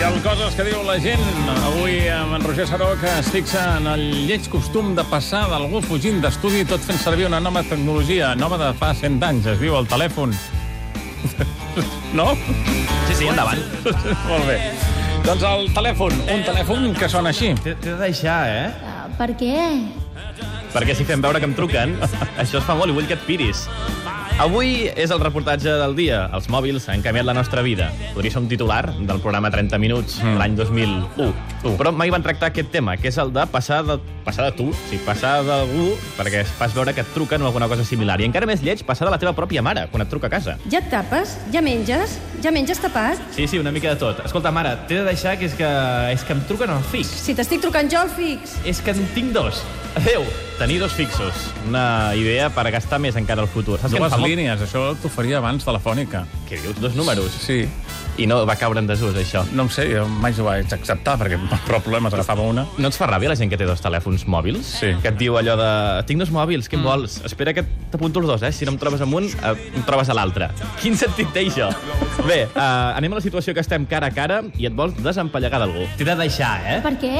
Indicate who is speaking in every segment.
Speaker 1: El coses que diu la gent. Avui amb en Roger Saró, que es fixa en el lleig costum de passar d'algú fugint d'estudi tot fent servir una nova tecnologia, nova de fa 100 anys, es diu el telèfon. No?
Speaker 2: Sí, sí, endavant.
Speaker 1: Molt bé. Doncs el telèfon, un telèfon que sona així.
Speaker 2: T'he de deixar, eh?
Speaker 3: Ah, Per què?
Speaker 2: Perquè si fem veure que em truquen, això es fa molt i vull que et piris. Avui és el reportatge del dia. Els mòbils han canviat la nostra vida. Podria ser un titular del programa 30 minuts mm. Uh. l'any 2001. Però mai van tractar aquest tema, que és el de passar de, passar de tu, o sigui, passar d'algú perquè es fas veure que et truquen o alguna cosa similar. I encara més lleig, passar de la teva pròpia mare quan et truca a casa.
Speaker 4: Ja et tapes? Ja menges? Ja menges tapat?
Speaker 2: Sí, sí, una mica de tot. Escolta, mare, t'he de deixar que és que, és que em truquen al fix.
Speaker 4: Si t'estic trucant jo al fix.
Speaker 2: És que en tinc dos. Adéu. Tenir dos fixos. Una idea per gastar més encara al futur. Saps que em
Speaker 1: Dues
Speaker 2: fa molt-
Speaker 1: línies, això t'ho faria abans telefònica.
Speaker 2: Què dius? Dos números.
Speaker 1: Sí,
Speaker 2: I no va caure en desús, això.
Speaker 1: no em sé, jo mai ho vaig acceptar, perquè però problemes agafava una.
Speaker 2: No et fa ràbia la gent que té dos telèfons mòbils?
Speaker 1: Sí.
Speaker 2: Que et diu allò de... Tinc dos mòbils, què mm. vols? Espera que t'apunto els dos, eh? Si no em trobes amb un, eh, em trobes a l'altre. Quin sentit té això? Bé, eh, anem a la situació que estem cara a cara i et vols desempallegar d'algú. T'he de deixar, eh?
Speaker 3: Per què?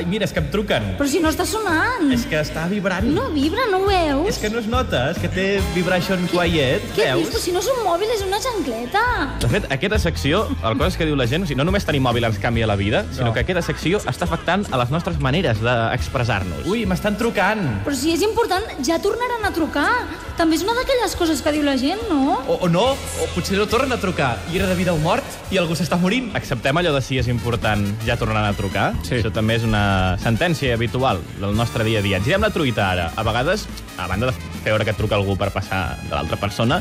Speaker 2: Ai, mira, és que em truquen.
Speaker 3: Però si no està sonant.
Speaker 2: És que està vibrant.
Speaker 3: No vibra, no ho veus?
Speaker 2: És que no es nota, és que té vibration quiet,
Speaker 3: Què dius? Però
Speaker 2: veus?
Speaker 3: si no és un mòbil, és una xancleta.
Speaker 2: De fet, aquesta secció, el cosa és que diu la gent, o sigui, no només tenir mòbil ens canvia la vida, sinó
Speaker 1: No.
Speaker 2: no. que aquesta secció està afectant a les nostres maneres d'expressar-nos. Ui, m'estan trucant.
Speaker 3: Però si és important, ja tornaran a trucar. També és una d'aquelles coses que diu la gent, no?
Speaker 2: O, o no, o potser no tornen a trucar. I era de vida o mort i algú s'està morint. Acceptem allò de si és important ja tornaran a trucar.
Speaker 1: Sí.
Speaker 2: Això també és una sentència habitual del nostre dia a dia. Ens girem la truita ara. A vegades, a banda de fer veure que et truca algú per passar de l'altra persona,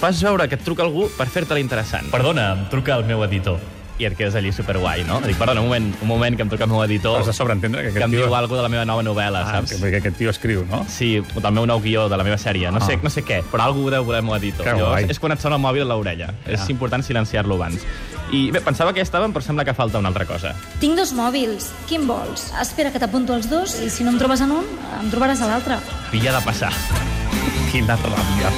Speaker 2: fas veure que et truca algú per fer-te-la interessant. Perdona, em truca el meu editor. I et quedes allí superguai, no? Dic, perdona, un moment, un moment que em truca el meu editor,
Speaker 1: Has de sobreentendre que
Speaker 2: que
Speaker 1: aquest
Speaker 2: em diu
Speaker 1: tio...
Speaker 2: alguna de la meva nova novel·la,
Speaker 1: Ah,
Speaker 2: saps?
Speaker 1: que, que aquest tio escriu, no?
Speaker 2: Sí, o del meu nou guió, de la meva sèrie. No, sé,
Speaker 1: Ah.
Speaker 2: no sé què, però algú ho deu voler m'ho ha dit.
Speaker 1: Que guai. Ah.
Speaker 2: és quan et sona el mòbil a l'orella. És important silenciar-lo abans. I bé, pensava que ja estàvem, però sembla que falta una altra cosa.
Speaker 3: Tinc dos mòbils. Quin vols? Espera que t'apunto els dos i si no em trobes en un, em trobaràs a l'altre.
Speaker 2: Pilla de passar.
Speaker 1: Quina ràbia.